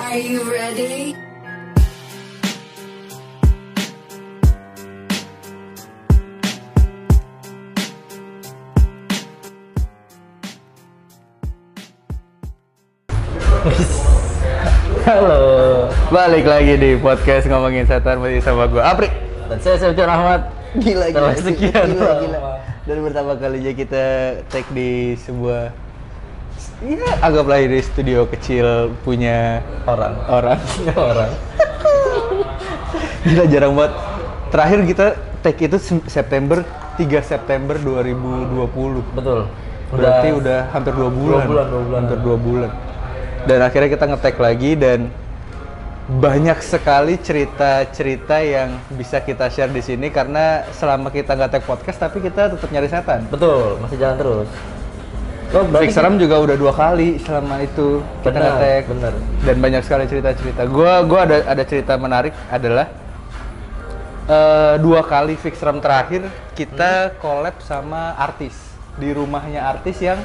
Are you ready? Halo, Balik lagi di podcast ngomongin setan masih sama gue Apri. dan saya Septian Ahmad. Gila Setelah sekian gila, lama. gila. Dan pertama kalinya kita tag di sebuah ya anggaplah ini studio kecil punya Orang, orang. orang. Gila jarang banget. Terakhir kita tag itu se- September 3 September 2020. Betul. Berarti udah hampir dua bulan. bulan, dua bulan. Hampir dua bulan. Dan akhirnya kita ngetek lagi dan banyak sekali cerita-cerita yang bisa kita share di sini karena selama kita nggak tag podcast tapi kita tetap nyari setan. Betul, masih jalan terus. Lo Fix Seram juga udah dua kali selama itu kita Oh, Benar, ngetek. benar. Dan banyak sekali cerita-cerita. Gua gua ada ada cerita menarik adalah eh, dua kali fix Seram terakhir Hmm. kita collab sama artis di rumahnya artis yang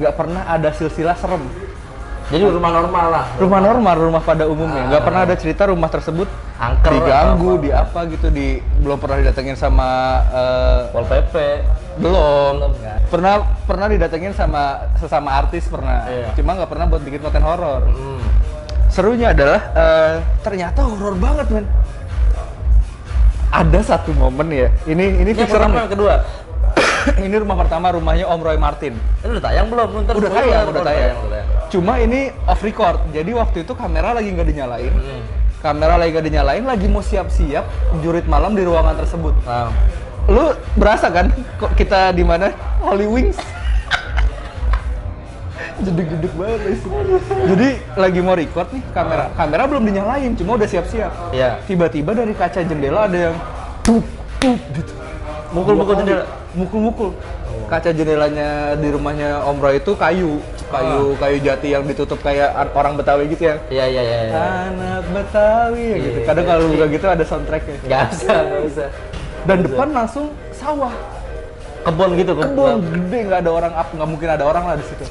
nggak pernah ada silsilah serem. Jadi rumah normal lah. Rumah normal, rumah pada umumnya. Nggak pernah ada cerita rumah tersebut Angker diganggu, atau apa. di apa gitu, di belum pernah didatengin sama eh, Pol PP. belum. Belum, kan? Pernah pernah didatengin sama sesama artis pernah. Iya. Cuma nggak pernah buat bikin konten horor. Hmm. Serunya adalah eh, ternyata horor banget, men. Ada satu momen ya. Ini ini Ini fix yang serem pertama, yang nih. kedua. ini rumah pertama rumahnya Om Roy Martin. Ini udah tayang belum? Ntar Udah sebelum tayang, ya, udah tayang. Cuma ini off record. Jadi waktu itu kamera lagi nggak dinyalain. Hmm. Kamera lagi nggak dinyalain, lagi mau siap-siap jurit malam di ruangan tersebut. Nah, Lu berasa kan kok kita di mana? Holy Wings. Jeduk-jeduk banget guys. Jadi lagi mau record nih kamera. Kamera belum dinyalain, cuma udah siap-siap. Iya. Tiba-tiba dari kaca jendela ada yang tup tup gitu. Dua Mukul-mukul kali. jendela. Mukul-mukul. Kaca jendelanya di rumahnya Om Roy itu kayu, Ah. kayu kayu jati yang ditutup kayak ar- orang Betawi gitu ya. iya iya iya. iya. Anak Betawi ya gitu. Iya. Kadang kalau buka gitu ada soundtracknya. Nggak usah, nggak usah. Dan depan langsung sawah, Kebun gitu kebun gede nggak ada orang up, nggak mungkin ada orang lah di situ.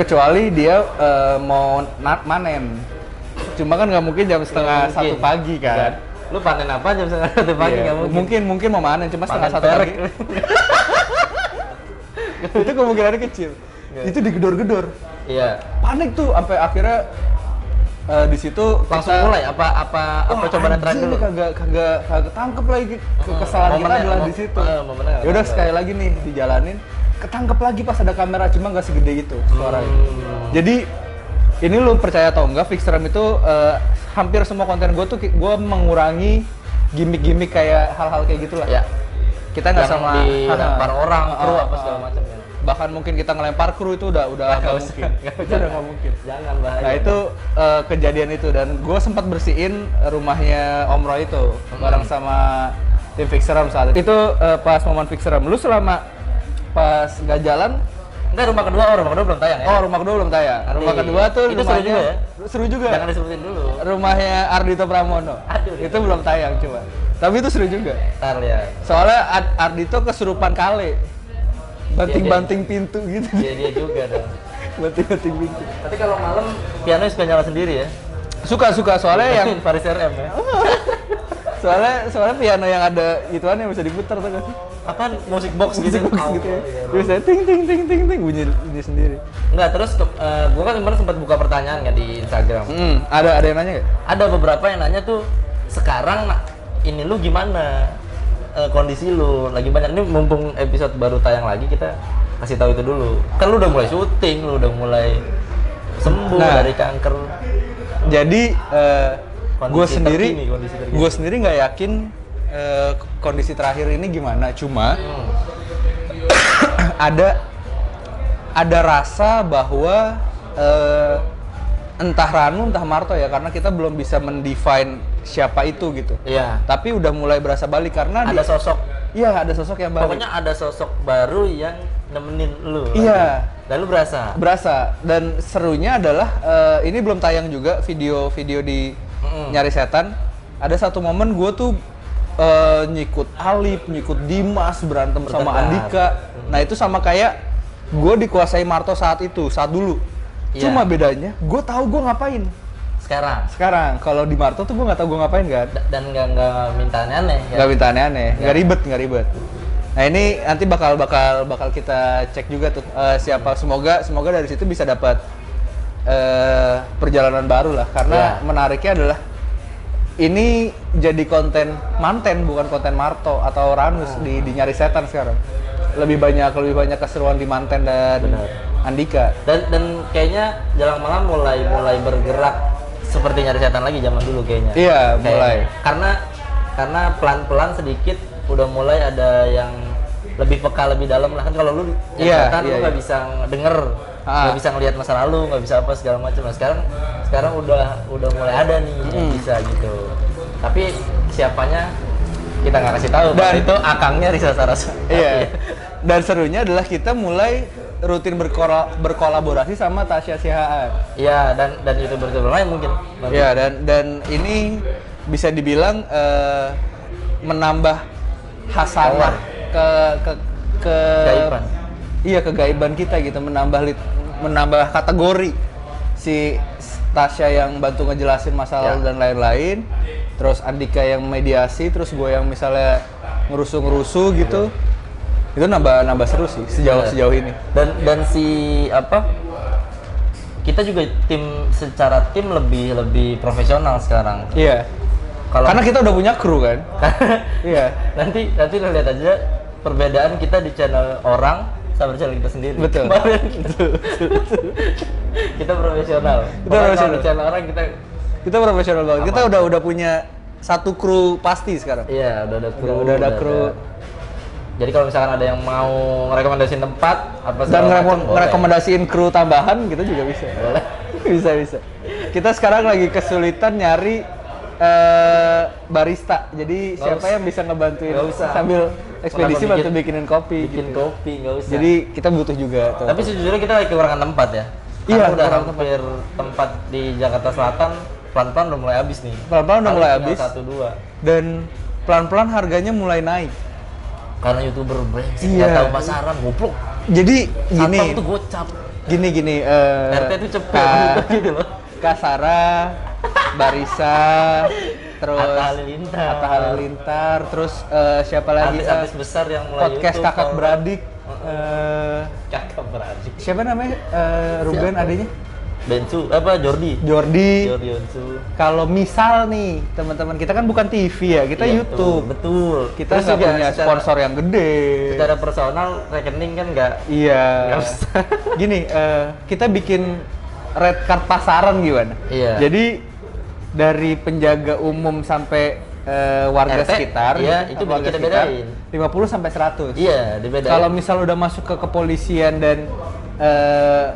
Kecuali dia eh, mau na- manen. Cuma kan nggak mungkin jam setengah Nggak mungkin. satu pagi kan. Lu panen apa jam setengah satu pagi Iya, nggak mungkin. mungkin mungkin mau manen cuma setengah Panen satu perek. pagi. itu kemungkinannya kecil. Itu digedor-gedor. Iya. Panik tuh sampai akhirnya eh, di situ Langsung kita- mulai apa apa apa Wah, cobaan yang terakhir anjing dulu. nih kagak kagak kagak tangkep lagi Ke- kesalahan kita momennya, adalah mom- di situ. eh, momennya nggak ya udah ketangkep. sekali lagi nih dijalanin, ketangkep lagi pas ada kamera cuma nggak segede gitu suaranya. Hmm. Jadi ini lu percaya atau enggak Fixeram itu eh, hampir semua konten gue tuh gue mengurangi gimmick-gimmick kayak hal-hal kayak gitulah. Ya. Kita nggak sama dilempar orang, Ah, kru ah, apa ah. segala macam ya. Bahkan mungkin kita ngelempar kru itu udah udah nggak usah, mungkin. nggak Itu usah. udah nggak mungkin. Jangan bahaya. Nah itu eh, kejadian itu dan gue sempat bersihin rumahnya Om Roy itu bareng sama tim Fixeram saat itu. Itu eh, pas momen Fixeram. Lu selama pas nggak jalan, Enggak rumah kedua, oh rumah kedua belum tayang ya. oh rumah kedua belum tayang. Nanti. Rumah kedua tuh Itu seru rumahnya juga ya? seru juga. Jangan disebutin dulu. Rumahnya Ardito Pramono. Aduh. Itu belum tayang coba. Tapi itu seru juga. Ntar ya. Soalnya Ad- Ardito kesurupan kale. Banting-banting pintu gitu. Dia dia Iya, juga dong. Banting-banting pintu. Tapi kalau malam piano suka nyala sendiri ya. Suka-suka soalnya Eh, yang Paris RM ya. soalnya soalnya piano yang ada ituan yang bisa diputar tuh kan Apaan musik box gitu. Box gitu ya terus saya ting ting ting ting ting bunyi bunyi sendiri Enggak, terus eh, gua kan kemarin sempat buka pertanyaan kan di Instagram. hmm, ada ada yang nanya nggak ada beberapa yang nanya tuh sekarang nak, ini lu gimana Eh, kondisi lu lagi banyak ini mumpung episode baru tayang lagi kita kasih tahu itu dulu kan lu udah mulai syuting lu udah mulai sembuh Nah. dari kanker jadi Kondisi gue sendiri terkini, kondisi terkini. gue sendiri nggak yakin eh, kondisi terakhir ini gimana cuma Hmm. ada ada rasa bahwa eh, entah Ranu entah Marto ya karena kita belum bisa mendefine siapa itu gitu iya tapi udah mulai berasa balik karena di- ada sosok Iya ada sosok yang baru. pokoknya ada sosok baru yang nemenin lu Iya. lalu berasa berasa dan serunya adalah eh, ini belum tayang juga video-video di Mm-mm. nyari setan. Ada satu momen gue tuh eh, nyikut Alip, nyikut Dimas berantem sama Bertengkar. Andika. Nah itu sama kayak gue dikuasai Marto saat itu saat dulu. Iya. Cuma bedanya gue tahu gue ngapain. sekarang Sekarang kalau di Marto tuh gue nggak tahu gue ngapain kan. Da- dan nggak nggak minta aneh ya. nggak minta aneh-aneh nggak ribet nggak ribet nah ini nanti bakal bakal bakal kita cek juga tuh eh, siapa semoga semoga dari situ bisa dapat eh, perjalanan baru lah karena Iya. menariknya adalah ini jadi konten manten bukan konten Marto atau Ranus di, di nyari setan sekarang lebih banyak lebih banyak keseruan di manten dan Benar. Andika dan dan kayaknya jalan malam mulai mulai bergerak seperti nyari setan lagi zaman dulu kayaknya Iya, Kayaknya. mulai. karena karena pelan pelan sedikit udah mulai ada yang lebih peka lebih dalam lah kan kalau lu nyari Iya, setan iya, lu nggak iya. bisa denger Ah. nggak bisa ngelihat masa lalu nggak bisa apa segala macam nah sekarang sekarang udah udah mulai ada nih yang Mm. bisa gitu tapi siapanya kita nggak kasih tahu Dan- dan itu akangnya Risa Sarasa Iya. Dan serunya adalah kita mulai rutin berkora- berkolaborasi sama Tasya Sihaan. Iya, dan dan youtuber youtuber lain mungkin Nanti. Ya dan dan ini bisa dibilang eh, menambah hasanah ke ke ke Kegaiban. Iya kegaiban kita gitu menambah lit, menambah kategori si Tasya yang bantu ngejelasin masalah Ya. dan lain-lain, terus Andika yang mediasi, terus gue yang misalnya ngerusuh-ngerusuh gitu. Itu nambah nambah seru sih sejauh Bener. sejauh ini. dan dan si apa kita juga tim secara tim lebih lebih profesional sekarang Iya. kalau Karena kita udah punya kru kan. Iya. nanti nanti lu lihat aja perbedaan kita di channel orang sama di channel kita sendiri Betul. Kemarin gitu. kita profesional Kita Pokoknya kalau profesional. di channel orang kita kita profesional banget. Kita udah udah punya satu kru pasti sekarang. iya udah ada kru Udah, udah ada kru ada- jadi kalau misalkan ada yang mau rekomendasiin tempat dan apa segala ngereko- macam, boleh. ngerekomendasiin kru tambahan kita juga bisa. Boleh. bisa bisa. Kita sekarang lagi kesulitan nyari eh, barista. Jadi Nggak siapa usah. yang bisa ngebantuin Nggak usah. sambil ekspedisi Orang bantu bikin- bikinin kopi bikin gitu. kopi nggak usah Jadi kita butuh juga tuh. Tapi sejujurnya kita lagi kekurangan tempat ya. Karena Iya, udah kekurangan hampir tempat di Jakarta Selatan pelan-pelan udah mulai habis nih. Pelan-pelan udah Paling mulai tinggal habis. Satu dua. dan pelan-pelan harganya mulai naik. Karena youtuber brengsek Iya. nggak tahu pasaran, goblok. Jadi gini, Satpam tuh gocap. gini gini eh, RT tuh cepet Kak- gitu loh. Kasara, Barisa, terus Atta Halilintar. Atta Halilintar, terus eh, siapa lagi? Artis-artis Eh, besar yang mulai podcast YouTube, kakak kalau- beradik. eh, Kakak beradik. siapa namanya? Eh, Ruben Siapa? adanya? Bensu apa Jordi? Jordi. Jordi Bensu. Kalau misal nih, teman-teman kita kan bukan TV ya, kita Iya, YouTube. Betul. betul. Kita Terus nggak juga punya secara- sponsor yang gede. Secara personal rekening kan nggak Iya. Nggak usah. Gini, eh, kita bikin red card pasaran gimana? Iya. Jadi dari penjaga umum sampai eh, warga RT, sekitar, eh, iya, itu warga kita sekitar, bedain. 50 sampai 100. Iya, dibedain. Kalau misal udah masuk ke kepolisian dan eh,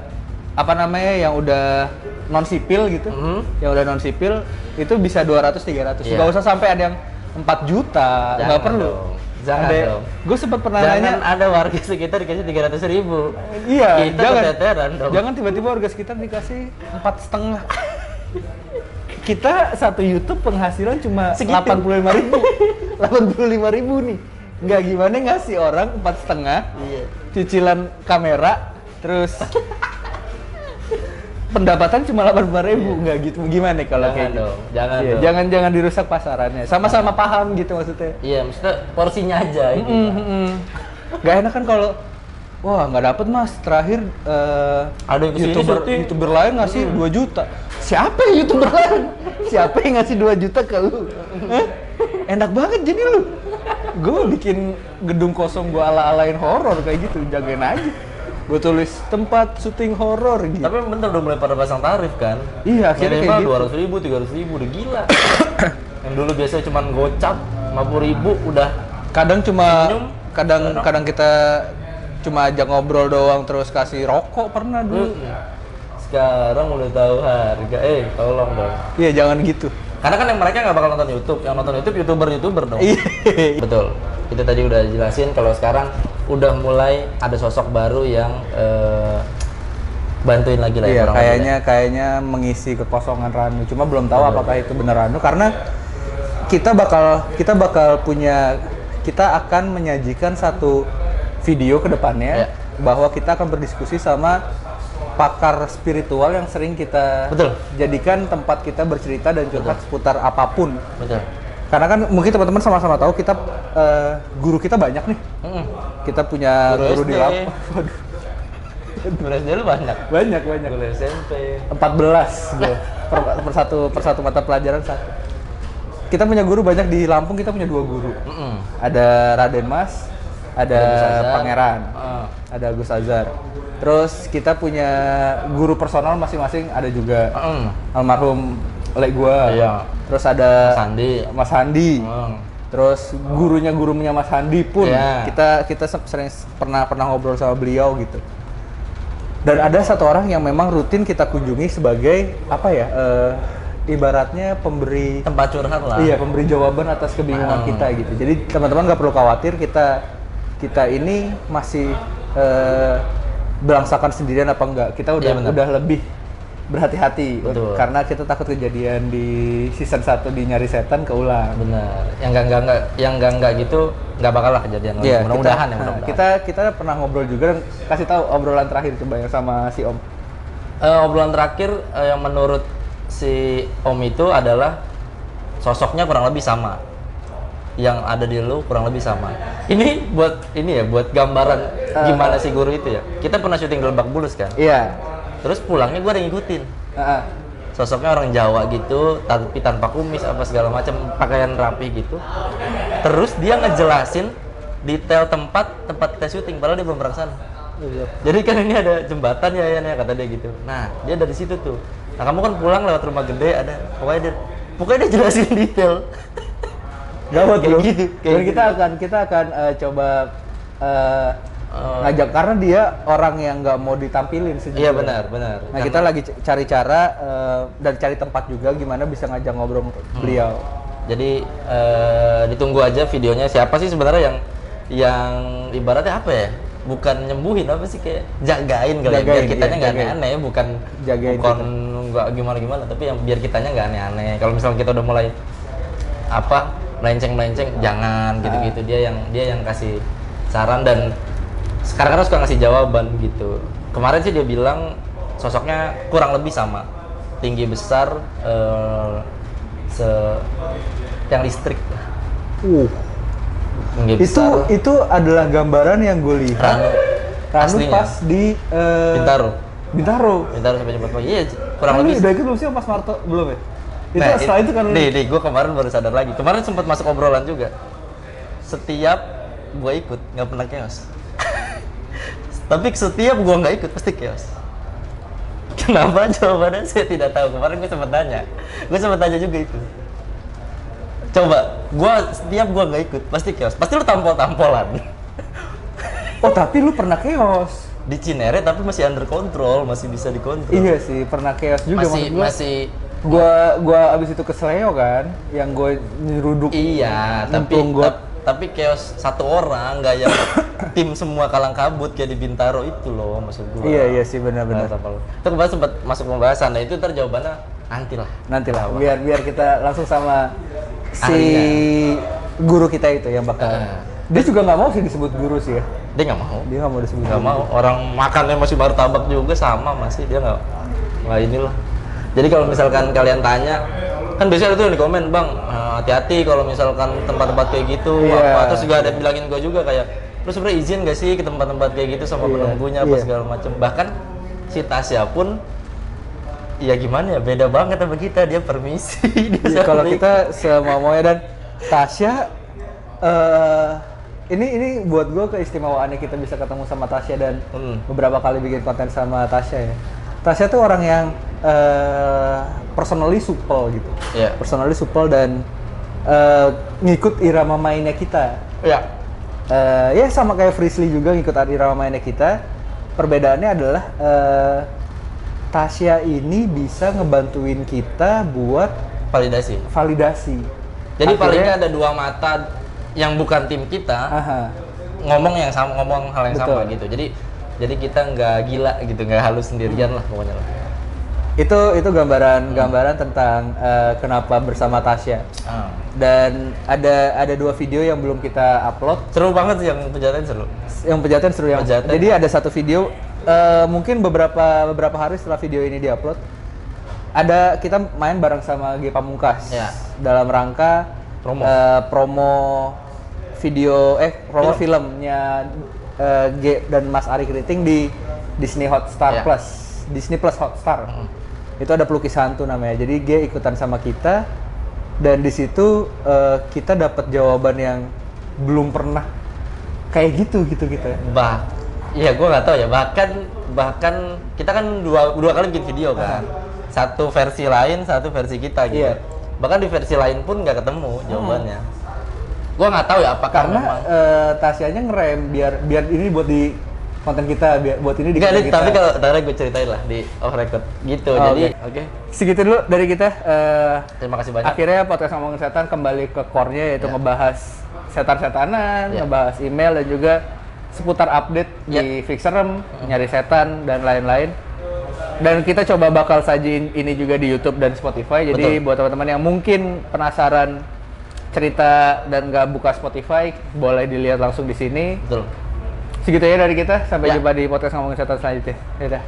apa namanya yang udah non sipil gitu, Mhm. yang udah non sipil itu bisa 200 300. Iya. Nggak usah sampai ada yang 4 juta, Jangan nggak perlu. dong. Jangan dong. Gue sempat pernah nanya Jangan ada warga sekitar dikasih 300 ribu. Iya, Kita keteteran dong. Jangan tiba-tiba warga sekitar dikasih empat setengah. Kita satu YouTube penghasilan cuma Segitu. delapan puluh lima ribu, delapan ribu nih. Nggak gimana ngasih orang empat setengah, Iya. cicilan kamera, terus pendapatan cuma delapan ribu, nggak gitu gimana kalau Jangan kayak gitu. dong, jangan Iya, dong. jangan jangan dirusak pasarannya. Sama-sama paham gitu maksudnya. Iya, maksudnya porsinya aja itu. Mm, mm, mm. Gak enak kan kalau wah nggak dapet mas terakhir eh, Ada yang kesini youtuber syuting. youtuber lain ngasih 2 juta siapa yang youtuber lain siapa yang ngasih 2 juta ke lu Hah? enak banget jadi lu gue bikin gedung kosong gue ala alain horor kayak gitu jagain aja gue tulis tempat syuting horor gitu Tapi bentar udah mulai pada pasang tarif kan? Iya, akhirnya kayak gitu. dua ratus ribu, tiga ratus ribu, udah gila. Yang dulu biasanya cuma gocap, lima ribu udah. kadang cuma Senyum. kadang kadang kita cuma ajak ngobrol doang terus kasih rokok pernah dulu Sekarang udah tahu harga, eh tolong dong. iya jangan gitu Karena kan yang mereka nggak bakal nonton YouTube, yang nonton YouTube youtuber youtuber dong. Iya. Betul. Kita tadi udah jelasin kalau sekarang udah mulai ada sosok baru yang eh, bantuin lagi lah. ya, Iya, kurang lebih kayaknya kayaknya mengisi kekosongan Ranu. Cuma belum tahu Iya, apakah itu benar Ranu karena kita bakal kita bakal punya kita akan menyajikan satu video ke depannya Iya. bahwa kita akan berdiskusi sama pakar spiritual yang sering kita Betul. jadikan tempat kita bercerita dan curhat seputar apapun. betul Karena kan mungkin teman-teman sama-sama tahu kita eh, guru kita banyak nih. Mm-mm. Kita punya Guru guru, di SD. lapang. Waduh, Guru SD lu banyak banyak banyak. guru SMP 14 gue per, per satu per satu mata pelajaran satu. Kita punya guru banyak di Lampung kita punya dua guru. Mm-mm. Ada Raden Mas, ada Ada Gus Azhar. Pangeran, Ah. ada Gus Azhar. Terus kita punya guru personal masing-masing ada juga Mm. almarhum oleh gua. Iya. Terus ada Mas Andi Mas Handi. Mm. Terus gurunya gurunya Mas Handi pun Iya. kita kita se- sering s- pernah pernah ngobrol sama beliau gitu. Dan ada satu orang yang memang rutin kita kunjungi sebagai apa ya? eh, ibaratnya pemberi tempat curhat lah iya pemberi jawaban atas kebingungan kita gitu. Jadi teman-teman nggak perlu khawatir kita kita ini masih eh, belangsakan sendirian apa enggak. Kita udah Iya, benar. udah lebih berhati-hati Betul. karena kita takut kejadian di season 1 di nyari setan keulang. benar yang enggak enggak enggak yang enggak enggak gitu enggak bakal lah kejadian lagi Iya, mudah-mudahan kita, ya mudah-mudahan Kita kita pernah ngobrol juga dan kasih tahu obrolan terakhir coba yang sama si Om. Eh, obrolan terakhir eh, yang menurut si Om itu adalah sosoknya kurang lebih sama. Yang ada di lu kurang lebih sama. Ini buat ini ya, buat gambaran gimana si guru itu ya. Kita pernah syuting di Lebak Bulus kan. Iya. Terus pulangnya gua ada ngikutin. Heeh. Sosoknya orang Jawa gitu, tapi tanpa kumis apa segala macam, pakaian rapi gitu. Terus dia ngejelasin detail tempat tempat kita syuting padahal dia belum pernah kesana. Jadi kan ini ada jembatan ya Yan, ya kata dia gitu. Nah dia dari situ tuh. Nah kamu kan pulang lewat rumah gede ada. Pokoknya dia, pokoknya dia jelasin detail. Gawat Kayak bro. gitu, kayak Dan gitu. kita akan kita akan eh, coba eh, Eh. ngajak karena dia orang yang nggak mau ditampilin sejujurnya. Iya benar benar. Nah kita lagi c- cari cara eh, dan cari tempat juga gimana bisa ngajak ngobrol Hmm. beliau. Jadi eh, ditunggu aja videonya siapa sih sebenarnya yang yang ibaratnya apa ya? Bukan nyembuhin apa sih kayak jagain kali ya. biar Jagain, kitanya iya, nggak jagain. aneh-aneh bukan Jagain bukan nggak gimana gimana tapi yang biar kitanya nggak aneh-aneh. Kalau misalnya kita udah mulai apa melenceng-melenceng jangan Ah. gitu-gitu dia yang dia yang kasih saran dan sekarang kan suka ngasih jawaban gitu. Kemarin sih dia bilang sosoknya kurang lebih sama tinggi besar eh, se yang listrik Uh. tinggi Itu besar itu adalah gambaran yang gue lihat. Ranu. Ranu Aslinya. pas di eh, Bintaro Bintaro. Bintaro sampai jumpa pagi iya kurang Ah, lu lebih udah ikut belum sih Mas Marto? Belum ya? Itu Nah, setelah itu, kan lu- nih nih gue kemarin baru sadar lagi kemarin sempat masuk obrolan juga setiap gue ikut nggak pernah chaos tapi setiap gue nggak ikut pasti chaos kenapa jawabannya saya tidak tahu kemarin gue sempat tanya gue sempat tanya juga itu coba gue setiap gue nggak ikut pasti chaos pasti lu tampol tampolan Oh tapi lu pernah chaos. di Cinere tapi masih under control masih bisa dikontrol Iya sih pernah chaos juga masih maksud gua. masih Gua gua abis itu ke Sleo kan, yang gue nyeruduk. Iya, tapi Nyemplung got. tap- tapi chaos satu orang nggak yang tim semua kalang kabut kayak di Bintaro itu loh maksud gua. Iya iya sih Nah, benar-benar. apa lu? Itu kemarin sempat masuk pembahasan, nah itu ntar jawabannya nanti lah. Nanti lah, biar biar kita langsung sama si Ahlinya. Nah. guru kita itu yang bakal. Heeh. Dia juga nggak mau sih disebut guru sih ya. Dia nggak mau, Dia nggak mau disebut. nggak guru. mau. Orang makannya masih baru tabak juga sama masih dia nggak nggak inilah. Jadi kalau misalkan kalian tanya, kan biasanya ada tuh yang di komen bang eh, hati-hati kalau misalkan tempat-tempat kayak gitu Iya. apa terus juga ada yang bilangin gue juga kayak lu sebenarnya izin gak sih ke tempat-tempat kayak gitu sama Iya, penunggunya apa iya. segala macam bahkan si Tasya pun ya gimana ya beda banget sama kita dia permisi dia Iya, kalau sering- kita semamanya dan Tasya eh ini ini buat gue keistimewaannya kita bisa ketemu sama Tasya dan Hmm. beberapa kali bikin konten sama Tasya ya. Tasya tuh orang yang eh personally supel gitu. Iya. Personally supel dan eh, ngikut irama mainnya kita. ya Eh, ya sama kayak Frisley juga ngikut irama mainnya kita. Perbedaannya adalah eh, Tasya ini bisa ngebantuin kita buat validasi validasi. jadi palingnya Akhirnya- ada dua mata yang bukan tim kita Aha. ngomong yang sama ngomong hal yang sama Betul. gitu jadi jadi kita nggak gila gitu nggak halus sendirian lah pokoknya lah Itu itu gambaran gambaran tentang eh, kenapa bersama Tasya. Ah. Dan ada ada dua video yang belum kita upload. seru banget sih yang penjataan seru Yang pejaten seru yang. Pejaten. Jadi ada satu video eh, mungkin beberapa beberapa hari setelah video ini diupload ada kita main bareng sama G Pamungkas Ya. dalam rangka Promo. eh, promo video eh promo filmnya eh, G dan Mas Ari Keriting di Disney Hotstar Ya. Plus Disney Plus Hotstar Hmm. itu ada pelukis hantu namanya jadi G ikutan sama kita dan di situ eh, kita dapat jawaban yang belum pernah kayak gitu gitu kita bah iya gue nggak tahu ya bahkan bahkan kita kan dua dua kali bikin video kan satu versi lain satu versi kita gitu Ah. Iya. Hmm. bahkan di versi lain pun nggak ketemu jawabannya gue nggak tahu ya apakah karena memang eh, Tasya nya ngerem biar biar ini buat di konten kita biar buat ini di Nggak, konten Dit, kita. tapi kalau tarik gue ceritain lah di off record gitu Oh, jadi oke. oke segitu dulu dari kita eh, terima kasih banyak akhirnya podcast ngomongin setan kembali ke core-nya yaitu ngebahas setan-setanan Ya. ngebahas email dan juga seputar update di Ya. fixerem Hmm. nyari setan dan lain-lain dan kita coba bakal sajiin ini juga di YouTube dan Spotify jadi Betul. buat teman-teman yang mungkin penasaran cerita dan nggak buka Spotify boleh dilihat langsung di sini betul segitu ya dari kita sampai Ya. jumpa di podcast ngomongin setan selanjutnya dadah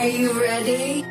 Are you ready?